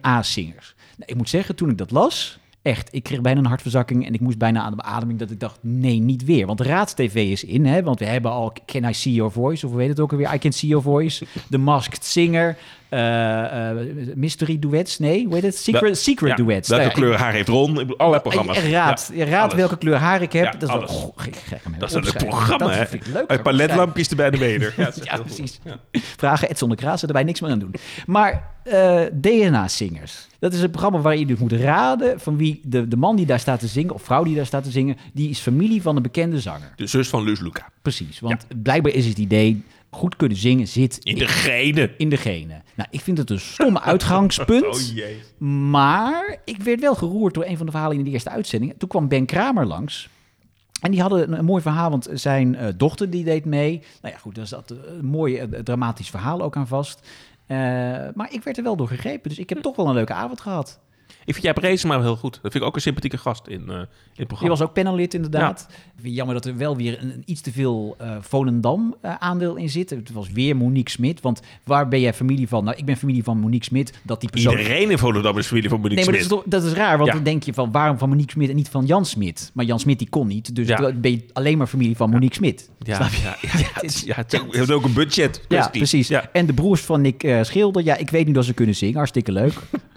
DNA-zingers. Nou, ik moet zeggen, toen ik dat las, echt, ik kreeg bijna een hartverzakking en ik moest bijna aan de beademing dat ik dacht, nee, niet weer. Want Raadstv is
[LAUGHS]
in, hè, want we hebben al Can I See Your Voice, of hoe heet het ook alweer, I Can See Your Voice, The Masked Singer, eh, eh, eh, mystery duets. Nee, hoe heet het? Secret,
Wel-
secret
ja,
duets. Oh, eh,
Welke
Nou ja,
kleur
ik-
haar heeft Ron? Ik bedoel, allerlei programma's.
Je raadt,
Ja,
je raadt
alles.
welke kleur haar ik heb.
Ja,
dat is wel
alles.
goh, gek, gek om heel
Dat is een
opschrijven.
programma, hè?
Dat vind ik leuk.
Eh,
om te schrijven.
paletlampjes erbij de beder. Ja, dat is
[LAUGHS] Ja,
echt heel
precies.
goed. Ja.
Vragen Edson de Kraas, daarbij niks meer aan doen. Maar eh, DNA-zingers. Dat is een programma waarin je dus moet raden van wie de, de man die daar staat te zingen, of vrouw die daar staat te zingen, die is familie van een bekende zanger.
De zus van Luz Luca.
Precies, want blijkbaar is het idee, goed kunnen zingen zit
In
in,
de genen.
in de genen. Nou, ik vind het een
[LAUGHS]
stom uitgangspunt.
Oh jee.
Maar ik werd wel geroerd door een van de verhalen in de eerste uitzending. Toen kwam Ben Kramer langs. En die hadden een, een mooi verhaal, want zijn eh, dochter die deed mee. Nou ja, goed, daar zat eh, een mooi eh, dramatisch verhaal ook aan vast. Eh, maar ik werd er wel door gegrepen, dus ik heb toch wel een leuke avond gehad.
Ik vind Jaap Reesema wel heel goed. Dat vind ik ook een sympathieke gast in, eh, in het
Je
programma.
was ook panelid inderdaad. Jammer dat er wel weer een, een iets te veel eh Volendam eh, aandeel in zit. Het was weer Monique Smit, want waar ben jij familie van? Nou, ik ben familie van Monique Smit. Dat die persoon
Iedereen in Volendam is familie van Monique
Nee, maar dat is,
Smit.
toch, dat is raar, want
Ja.
dan denk je van waarom van Monique Smit en niet van Jan Smit? Maar Jan Smit die kon niet, dus
Ja.
dan ben je alleen maar familie van Monique Smit.
Ja,
Snap je? [LAUGHS]
ja, ja, het is- [LAUGHS] ja, het is ook- het heeft ook een budget.
Ja,
kwestie.
precies.
Ja.
En de broers van Nick eh, Schilder, ja, ik weet niet dat ze kunnen zingen, hartstikke leuk.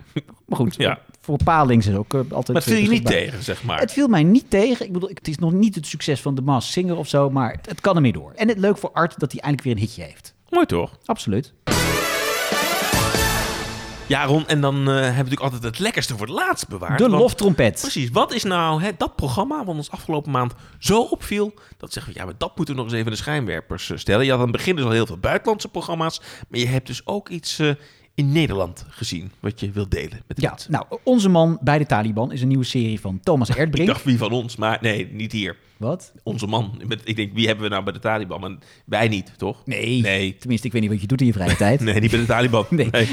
[LAUGHS]
maar goed,
Ja.
voor Palings is ook eh, altijd...
Maar het viel je
eh,
niet
beschikbaar.
tegen, zeg maar.
Het viel mij niet tegen. Ik bedoel, het is nog niet het succes van de Maas Singer of zo, maar het, het kan ermee door. En het leuk voor Art dat hij eindelijk weer een hitje heeft.
Mooi toch?
Absoluut.
Ja, Ron, en dan eh, hebben we natuurlijk altijd het lekkerste voor het laatst bewaard.
De
want-
loftrompet.
Precies, wat is nou hè, dat programma wat ons afgelopen maand zo opviel? Dat zeggen we, ja, maar dat moeten we nog eens even in de schijnwerpers eh, stellen. Je had aan het begin dus al heel veel buitenlandse programma's. Maar je hebt dus ook iets eh, in Nederland gezien wat je wilt delen met de
Ja,
mensen.
nou, Onze Man bij de Taliban is een nieuwe serie van
[LAUGHS]
Thomas
Ik
Erdbrink.
dacht, wie van ons? Maar nee, niet hier.
Wat?
Onze man. Met- Ik denk, wie hebben we nou bij de Taliban? En wij niet, toch?
Nee.
Nee,
Tenminste, ik weet niet wat je doet in je vrije
[LAUGHS]
tijd.
nee niet bij de Taliban.
[LAUGHS] Nee.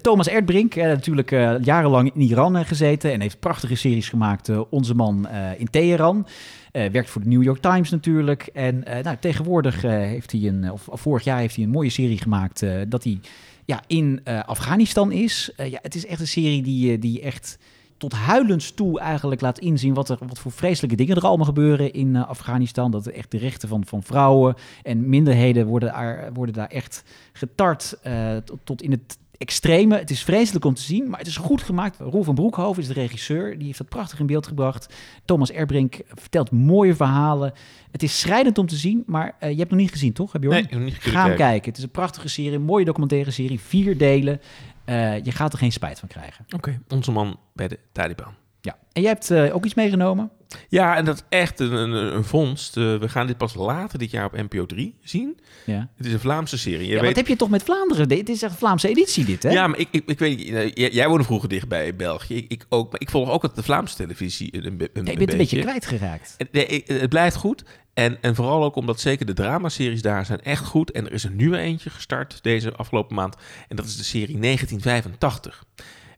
Thomas Erdbrink, eh, natuurlijk eh, jarenlang in Iran eh, gezeten en heeft prachtige series gemaakt. eh, Onze man eh, in Teheran. Eh, werkt voor de New York Times natuurlijk. En eh, nou, tegenwoordig eh, heeft hij een, of vorig jaar heeft hij een mooie serie gemaakt eh, dat hij ja, in eh, Afghanistan is. Eh, ja, het is echt een serie die, eh, die echt tot huilens toe eigenlijk laat inzien wat, er, wat voor vreselijke dingen er allemaal gebeuren in eh, Afghanistan. Dat er echt de rechten van, van vrouwen en minderheden worden daar, worden daar echt getart eh, tot, tot in het extreme. Het is vreselijk om te zien, maar het is goed gemaakt. Roel van Broekhoven is de regisseur, die heeft dat prachtig in beeld gebracht. Thomas Erbrink vertelt mooie verhalen. Het is schrijnend om te zien, maar eh, je hebt nog niet gezien, toch? Heb je
Nee, ik heb hem niet
Ga hem
gekeken.
kijken. Het is een prachtige serie, een mooie documentaire serie, vier delen. Eh, je gaat er geen spijt van krijgen.
Oké, onze man bij de Taliban.
Ja. En jij hebt eh, ook iets meegenomen?
Ja, en dat is echt een, een, een vondst. Eh, we gaan dit pas later dit jaar op NPO 3 zien.
Ja.
Het is een Vlaamse serie. Je
Ja,
weet-
Wat heb je toch met Vlaanderen? Dit is echt een Vlaamse editie, dit, hè?
Ja, maar ik, ik, ik weet niet. eh, jij- Jij woonde vroeger dichtbij in België. Ik, ik ook. Maar ik volg ook de Vlaamse televisie eh, een, een,
Nee, je bent een beetje kwijtgeraakt.
En- nee, ik- het blijft goed. En, en vooral ook omdat zeker de dramaseries daar zijn echt goed. En er is een nieuwe eentje gestart deze afgelopen maand. En dat is de serie 1985.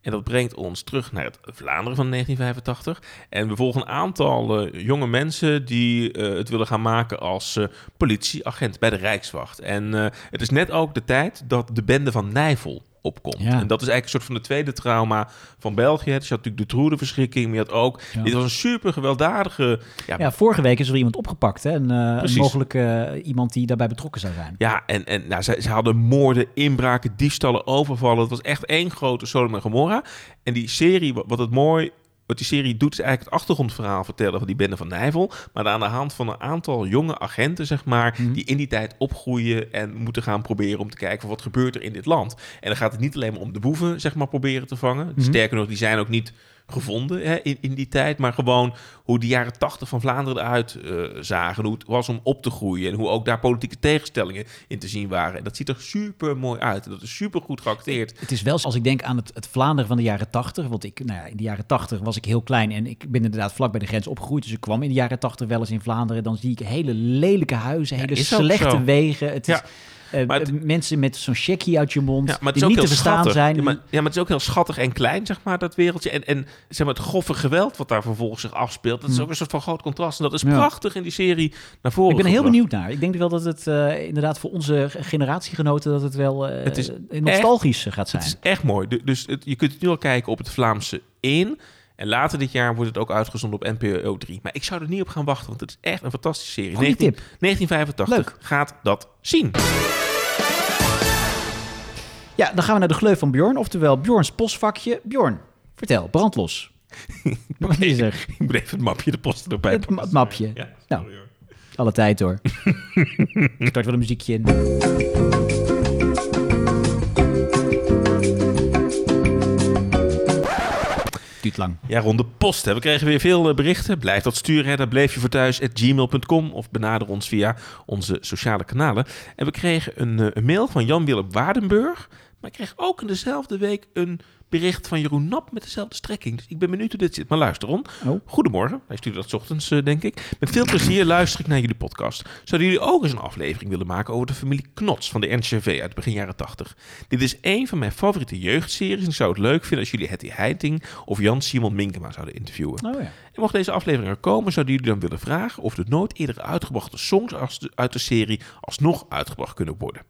En dat brengt ons terug naar het Vlaanderen van 1985. En we volgen een aantal eh, jonge mensen die eh, het willen gaan maken als eh, politieagent bij de Rijkswacht. En eh, het is net ook de tijd dat de bende van Nijvel opkomt.
Ja.
En dat is eigenlijk een soort van de tweede trauma van België. Dus je had natuurlijk de Troerenverschrikking, maar je had ook...
Ja.
Dit was een super gewelddadige
Ja, vorige week is er iemand opgepakt, hè? Een, eh,
Precies.
mogelijk eh, iemand die daarbij betrokken zou zijn.
Ja, en, en nou, ze, ze hadden moorden, inbraken, diefstallen, overvallen. Het was echt één grote Sodom en Gomorra. En die serie, wa- wat het mooi... Wat die serie doet, is eigenlijk het achtergrondverhaal vertellen van die bende van Nijvel. Maar aan de hand van een aantal jonge agenten, zeg maar,
Mhm.
die in die tijd opgroeien en moeten gaan proberen om te kijken van wat gebeurt er in dit land. En dan gaat het niet alleen maar om de boeven, zeg maar, proberen te vangen.
Mhm.
Sterker nog, die zijn ook niet gevonden hè, in, in die tijd, maar gewoon hoe de jaren tachtig van Vlaanderen eruit eh, zagen, hoe het was om op te groeien en hoe ook daar politieke tegenstellingen in te zien waren. En dat ziet er super mooi uit en dat is super goed geacteerd.
Het is wel, als ik denk aan het, het Vlaanderen van de jaren 80, want ik, nou ja, in de jaren 80 was ik heel klein en ik ben inderdaad vlak bij de grens opgegroeid, dus ik kwam in de jaren 80 wel eens in Vlaanderen, dan zie ik hele lelijke huizen, hele
is ook
slechte
zo.
wegen. Het
Ja.
is, eh,
Maar het-
mensen met zo'n checkie uit je mond,
Ja, maar het is
die
ook
niet
heel
te verstaan
schattig.
zijn.
Ja maar, ja, maar het is ook heel schattig en klein, zeg maar, dat wereldje. En, en zeg maar, het grove geweld wat daar vervolgens zich afspeelt, dat is
Hm.
ook een soort van groot contrast. En dat is
Ja.
prachtig in die serie naar voren
ik ben er heel
gebracht.
benieuwd naar. Ik denk wel dat het eh, inderdaad voor onze generatiegenoten dat het wel eh,
Het is
nostalgisch gaat zijn.
Het is echt mooi. Du- Dus het- je kunt het nu al kijken op het Vlaamse in. En later dit jaar wordt het ook uitgezonden op NPO 3. Maar ik zou er niet op gaan wachten, want het is echt een fantastische serie.
Goeie tip.
[LAUGHS] 1985 gaat dat zien.
Ja, dan gaan we naar de gleuf van Bjorn, oftewel Bjorns postvakje. Bjorn, vertel, [LAUGHS] brandlos. Wat is er?
Ik moet even het mapje de post erbij
Het
pakken.
ma- mapje.
Ja,
Nou.
sorry hoor.
Alle tijd [LAUGHS] hoor. Start wel een muziekje in. Duurt lang.
Ja, rond de post. Hè. We kregen weer veel eh, berichten. Blijf dat sturen. Hè. Daar bleef je voor thuis. At gmail.com of benader ons via onze sociale kanalen. En we kregen een, eh, een mail van Jan-Willem Waardenburg. Maar ik kreeg ook in dezelfde week een bericht van Jeroen Nap met dezelfde strekking. Dus ik ben benieuwd hoe dit zit. Maar luister, Ron.
Oh.
Goedemorgen. Hij stuurde dat 's ochtends, eh, denk ik. Met veel plezier luister ik naar jullie podcast. Zouden jullie ook eens een aflevering willen maken over de familie Knots van de NCV uit begin jaren 80? Dit is een van mijn favoriete jeugdseries en ik zou het leuk vinden als jullie Hetty Heiting of Jan-Simon Minkema zouden interviewen.
Oh ja.
En mocht deze aflevering er komen, zouden jullie dan willen vragen of de nooit eerder uitgebrachte songs als de- uit de serie alsnog uitgebracht kunnen worden.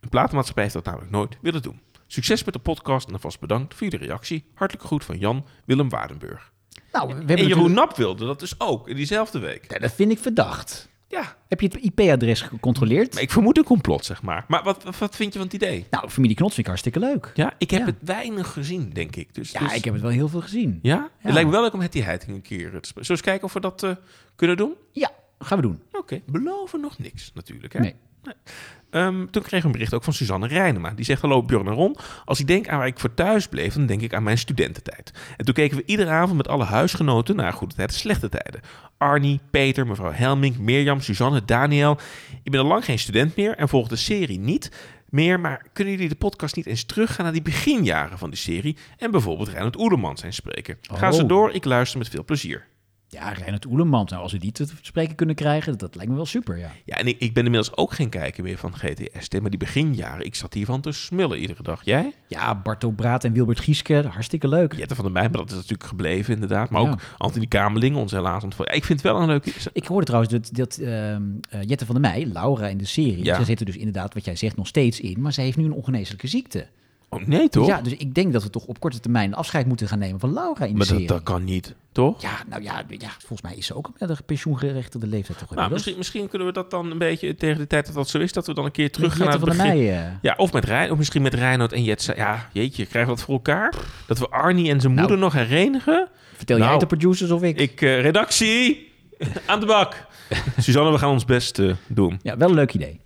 Een platenmaatschappij heeft dat namelijk nooit willen doen. Succes met de podcast en alvast bedankt voor jullie reactie. Hartelijk groet van Jan Willem Waardenburg.
Nou, we hebben
En
natuurlijk-
Jeroen Nap wilde dat dus ook in diezelfde week.
Ja, dat vind ik verdacht.
Ja,
Heb je het IP-adres gecontroleerd?
maar ik vermoed een complot, zeg maar. Maar wat, wat- wat vind je van het idee?
Nou, familie Knots vind ik hartstikke leuk.
Ja, ik heb
Ja.
het weinig gezien, denk ik. Dus,
Ja,
dus-
ik heb het wel heel veel gezien.
ja?
Ja.
Het lijkt me wel leuk om het die heiting een keer te spelen. Zullen we eens kijken of we dat eh, kunnen doen?
Ja, gaan we doen.
Oké, beloven nog niks natuurlijk. Hè?
Nee.
Ehm, toen kreeg ik een bericht ook van Suzanne Reinema. Die zegt, hallo Björn en Ron. Als ik denk aan waar ik voor thuis bleef, dan denk ik aan mijn studententijd. En toen keken we iedere avond met alle huisgenoten naar goede tijden, slechte tijden. Arnie, Peter, mevrouw Helming, Mirjam, Suzanne, Daniel. Ik ben al lang geen student meer en volg de serie niet meer. Maar kunnen jullie de podcast niet eens teruggaan naar die beginjaren van die serie? En bijvoorbeeld Reinhard Oederman zijn spreken. Ga
Oh.
ze door, ik luister met veel plezier.
Ja, Reinhard Oelemans. Nou, als we die te spreken kunnen krijgen, dat lijkt me wel super, ja.
Ja, en ik, ik ben inmiddels ook geen kijker meer van GTST. Maar die beginjaren, ik zat hiervan te smullen iedere dag. Jij?
Ja, Barto Braat en Wilbert Gieske, hartstikke leuk.
Jette van der Meij, maar dat is natuurlijk gebleven inderdaad. Maar
Ja.
ook Anthony Kamerling, onze helaas ontvallen. Ja, ik vind het wel een leuke...
Ik hoorde trouwens dat, dat ehm, eh, Jette van der Meij, Laura in de serie,
Ja.
zij zit er dus inderdaad, wat jij zegt, nog steeds in, maar zij heeft nu een ongeneeslijke ziekte.
Oh nee, toch?
Ja, dus ik denk dat we toch op korte termijn afscheid moeten gaan nemen van Laura in de
maar dat,
serie.
dat kan niet, toch?
Ja, nou ja, ja, volgens mij is ze ook al met de pensioengerechtigde leeftijd
nou,
toch inmiddels.
misschien, misschien kunnen we dat dan een beetje tegen de tijd dat dat zo is... dat we dan een keer
Met
terug gaan naar
Jette
het
van der
begin.
Meij. eh,
Ja, of met Rijn, of misschien met Reinoud en Jetsa. Ja, jeetje, krijgen we dat voor elkaar? Dat we Arnie en zijn
Nou.
moeder nog herenigen?
vertel
Nou,
jij het de producers of ik?
Ik, eh, redactie, [LAUGHS] aan de
[LAUGHS]
bak. Suzanne, we gaan ons best eh, doen.
Ja, wel een leuk idee.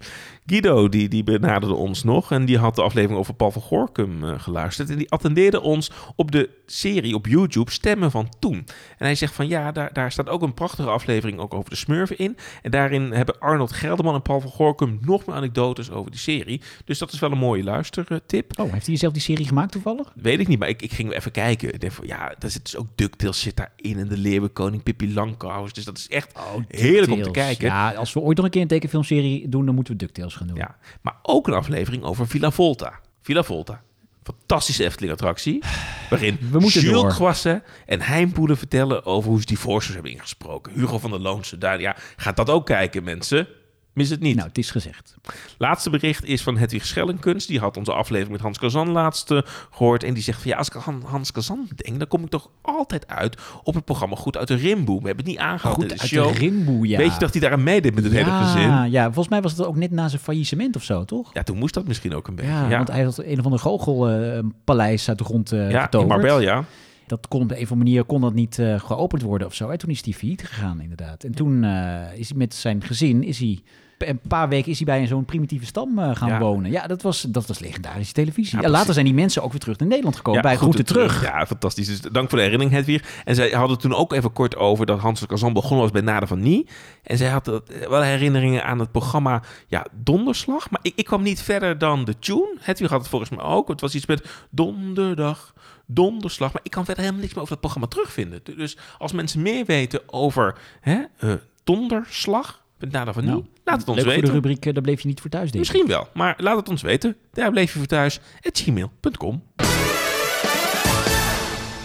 Guido die, die benaderde ons nog en die had de aflevering over Paul van Gorkum eh, geluisterd. En die attendeerde ons op de serie op YouTube Stemmen van Toen. En hij zegt van ja, daar, daar staat ook een prachtige aflevering ook over de smurfen in. En daarin hebben Arnold Gelderman en Paul van Gorkum nog meer anekdotes over die serie. Dus dat is wel een mooie luistertip.
Oh, heeft hij zelf die serie gemaakt toevallig?
Weet ik niet, maar ik, ik ging even kijken. Ik dacht van, ja, daar zit dus ook DuckTales zit daarin en de Leeuwenkoning Pippi Langkous. Dus dat is echt heerlijk om te
DuckTales.
kijken.
Ja, als we ooit nog een keer een tekenfilmserie doen, dan moeten we DuckTales gaan doen.
Ja, maar ook een aflevering over Villa Volta. Villa Volta. Fantastische
[SIGHS]
Efteling-attractie. Waarin
We moeten door.
Jules Kwassen en Heimpoelen vertellen over hoe ze divorces hebben ingesproken. Hugo van der Loonse, daar, ja, gaat dat ook kijken, mensen. Mis het niet.
Nou, het is gezegd.
Laatste bericht is van Hedwig Schellenkunst. Die had onze aflevering met Hans Kazan laatst eh, gehoord. En die zegt van ja, als ik aan Han- Hans Kazan denk, dan kom ik toch altijd uit op het programma Goed uit de Rimboe. We hebben het niet aangehaald in
Goed
de
uit
show.
de rimboe, ja.
dus Weet je dat hij daar aan meedeed met het hele gezin?
Ja, ja, volgens mij was het ook net na zijn faillissement of zo, toch?
Ja, toen moest dat misschien ook een beetje.
Ja, want hij had een of ander goochelpaleis uit de grond eh
ja in
getoverd.
Marbella.
Dat kon op de een of andere manier kon dat niet eh, geopend worden of zo. En toen is hij failliet gegaan, inderdaad. En toen eh, is hij met zijn gezin, is hij, een paar weken is hij bij zo'n primitieve stam eh, gaan
Ja.
wonen. Ja, dat was, dat was legendarische televisie.
Ja,
en later
precies.
zijn die mensen ook weer terug naar Nederland gekomen, bij
goed
Groeten Terug.
Ja, fantastisch. Dus dank voor de herinnering, Hedwig. En zij hadden toen ook even kort over dat Hans Kazan begonnen was bij Nader van Nie. En zij had dat, eh, wel herinneringen aan het programma ja, Donderslag. Maar ik, ik kwam niet verder dan de tune. Hedwig had het volgens mij ook. Het was iets met donderdag, donderslag. Maar ik kan verder helemaal niks meer over dat programma terugvinden. Dus als mensen meer weten over hè, eh, donderslag met Nader van Nie,
Nou,
laat het ons
Leuk voor de
weten.
rubriek, eh, daar bleef je niet voor thuis, denk ik.
Misschien wel, maar laat het ons weten. Daar bleef je voor thuis. at gmail.com.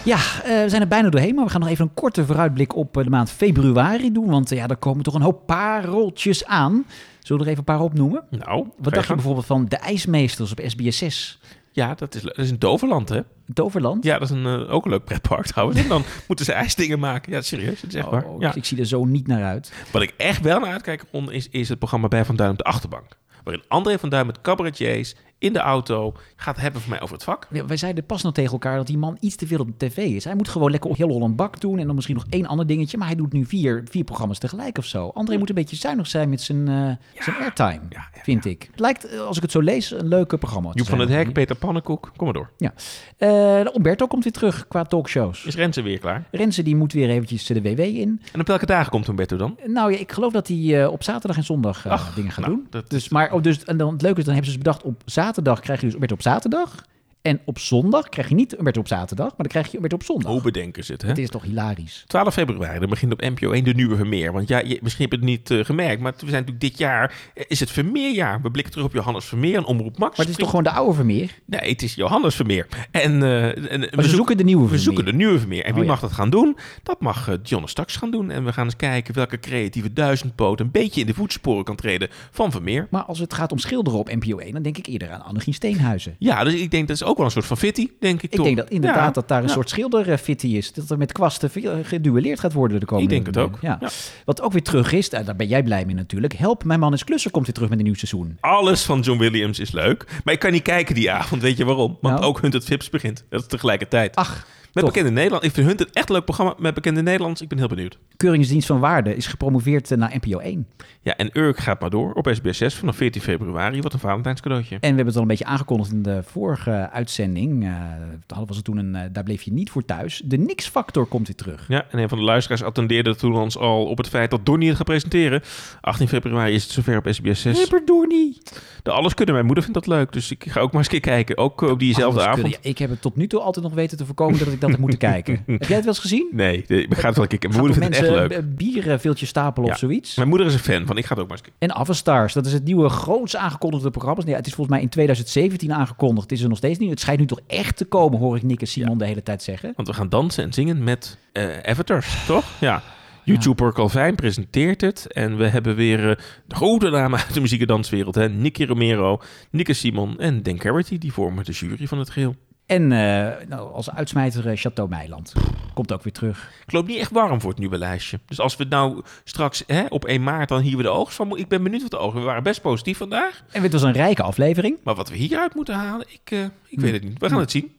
Ja, eh, we zijn er bijna doorheen, maar we gaan nog even een korte vooruitblik op eh, de maand februari doen. Want eh, ja, daar komen toch een hoop pareltjes aan. Zullen we er even een paar opnoemen?
Nou,
Wat dacht je bijvoorbeeld van de ijsmeesters op SBS6?
Ja, dat is, leuk. dat is in Toverland, hè?
Toverland?
Ja, dat is een, eh, ook een leuk pretpark [LAUGHS] trouwens. En dan moeten ze ijsdingen maken. Ja, serieus, dat is echt
Oh,
waar.
oh,
Ja.
Ik zie er zo niet naar uit.
Wat ik echt wel naar uitkijk, Ron, is, is het programma bij Van Duin op de Achterbank. Waarin André van Duin met cabaretiers in de auto gaat hebben voor mij over het vak.
Ja, Wij zeiden pas nog tegen elkaar dat die man iets te veel op de tv is. Hij moet gewoon lekker op heel Holland Bak doen en dan misschien nog één ander dingetje. Maar hij doet nu vier, vier programma's tegelijk of zo. André moet een beetje zuinig zijn met zijn, eh, zijn airtime,
ja, ja.
vind ik. Het lijkt, eh, als ik het zo lees, een leuke programma. te
Joep van
zijn.
het Hek, Peter Pannenkoek, kom maar door.
Ja. Eh Umberto komt weer terug qua talkshows.
Is Renze weer klaar?
Renze die moet weer eventjes de WW in.
En op welke dagen komt Humberto dan?
Nou ja, ik geloof dat hij eh, op zaterdag en zondag eh,
Ach,
dingen gaat
nou,
doen.
dat
dus, maar, oh, dus, en dan, het leuke is, dan hebben ze dus bedacht, op zaterdag krijg je dus Umberto op zaterdag. En op zondag krijg je niet Umberto op zaterdag, maar dan krijg je Umberto op zondag.
Hoe bedenken ze het, Oh, hè?
Het is toch hilarisch.
12 februari, dan begint op NPO 1 de nieuwe Vermeer. Want ja, je, misschien heb je het niet eh, gemerkt, maar we zijn natuurlijk dit jaar... eh, is het Vermeerjaar. We blikken terug op Johannes Vermeer en Omroep Max.
Maar het is toch gewoon de oude Vermeer?
Nee, het is Johannes Vermeer. En, eh, en eh,
Maar ze zoeken de nieuwe
We
Vermeer.
zoeken de nieuwe Vermeer. En wie
Oh, ja.
mag dat gaan doen? Dat mag eh Johnne Staks gaan doen. En we gaan eens kijken welke creatieve duizendpoot... een beetje in de voetsporen kan treden van Vermeer.
Maar als het gaat om schilderen op NPO 1, dan denk ik eerder aan Annegien Steenhuizen.
Ja, dus ik denk dat is ook wel een soort van fitty, denk ik
Ik
toch?
denk dat inderdaad
Ja.
dat daar een
Ja.
soort schilderfitty is. Dat er met kwasten veel geduelleerd gaat worden de komende
denk het ook.
Ja.
Ja.
Wat ook weer terug is, eh, daar daar ben jij blij mee natuurlijk. Help, mijn man is klusser komt weer terug met een nieuw seizoen.
Alles van John Williams is leuk. Maar ik kan niet kijken die avond, weet je waarom? Want
Nou.
ook Hunted Vips begint. Dat is tegelijkertijd.
Ach,
Met
toch.
bekende Nederland. Ik vind Hunt het echt een leuk programma. Met bekende Nederlands. Ik ben heel benieuwd.
Keuringsdienst van Waarde is gepromoveerd eh, naar NPO 1.
Ja, en Urk gaat maar door op SBS6 vanaf 14 februari. Wat een Valentijns cadeautje.
En we hebben het al een beetje aangekondigd in de vorige uitzending. Eh, Toen hadden we ze toen een, eh, daar bleef je niet voor thuis. De niks-factor komt weer terug.
Ja, en een van de luisteraars attendeerde toen ons al op het feit dat Donnie het gaat presenteren. 18 februari is het zover op SBS6.
Ripper Doornie.
De Alles kunnen, mijn moeder vindt dat leuk. Dus ik ga ook maar eens een keer kijken. Ook eh, op diezelfde
Anders
avond.
kunnen- ja, ik heb het tot nu toe altijd nog weten te voorkomen dat ik dat heb
[LAUGHS]
moeten kijken. Heb jij het wel eens gezien?
Nee, de- ik begrijp wel. Ik, mijn
Gaan
moeder
toch
vindt het echt
mensen
leuk.
b- bieren veeltje stapelen
Ja.
of zoiets?
Mijn moeder is een fan van. Ik ga het ook maar eens kijken.
En Avastars, dat is het nieuwe groots aangekondigde programma. Ja, het is volgens mij in 2017 aangekondigd. Het is er nog steeds niet. Het schijnt nu toch echt te komen, hoor ik Nick en Simon de hele tijd zeggen.
Want we gaan dansen en zingen met eh, avatars, toch? Ja. YouTuber Calvijn presenteert het. En we hebben weer eh, de grote namen uit de muziek- en danswereld. Hè? Nicky Romero, Nicky Simon en Dan Carity. Die vormen de jury van het geheel.
En eh, nou, als uitsmijter eh, Chateau Meiland. Komt ook weer terug.
Ik loop niet echt warm voor het nieuwe lijstje. Dus als we het nou straks hè, op 1 maart dan hier weer de oogst van moeten... Ik ben benieuwd wat de ogen... We waren best positief vandaag.
En dit was een rijke aflevering.
Maar wat we hieruit moeten halen, ik, eh, ik weet het niet. We gaan het zien.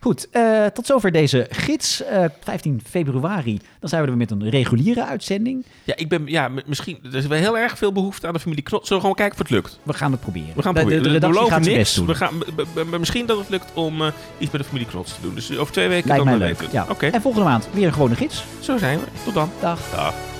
Goed, eh, tot zover deze gids. Eh, 15 februari, dan zijn we er weer met een reguliere uitzending.
Ja, ik ben... Ja, m- misschien... Er is wel heel erg veel behoefte aan de familie Knot. Zullen we gewoon kijken of het lukt?
We gaan het proberen.
We gaan
De- de-
proberen.
De,
We
redactie
beloven
gaat zijn
niks.
best doen.
We gaan, b- b- b- misschien dat het lukt om eh, iets met de familie Knots te doen. Dus over twee weken
Lijkt
dan
mij
wel
leuk.
weten.
Ja.
Oké,
En volgende maand weer een gewone gids.
zo zijn we. Tot dan.
Dag.
Dag.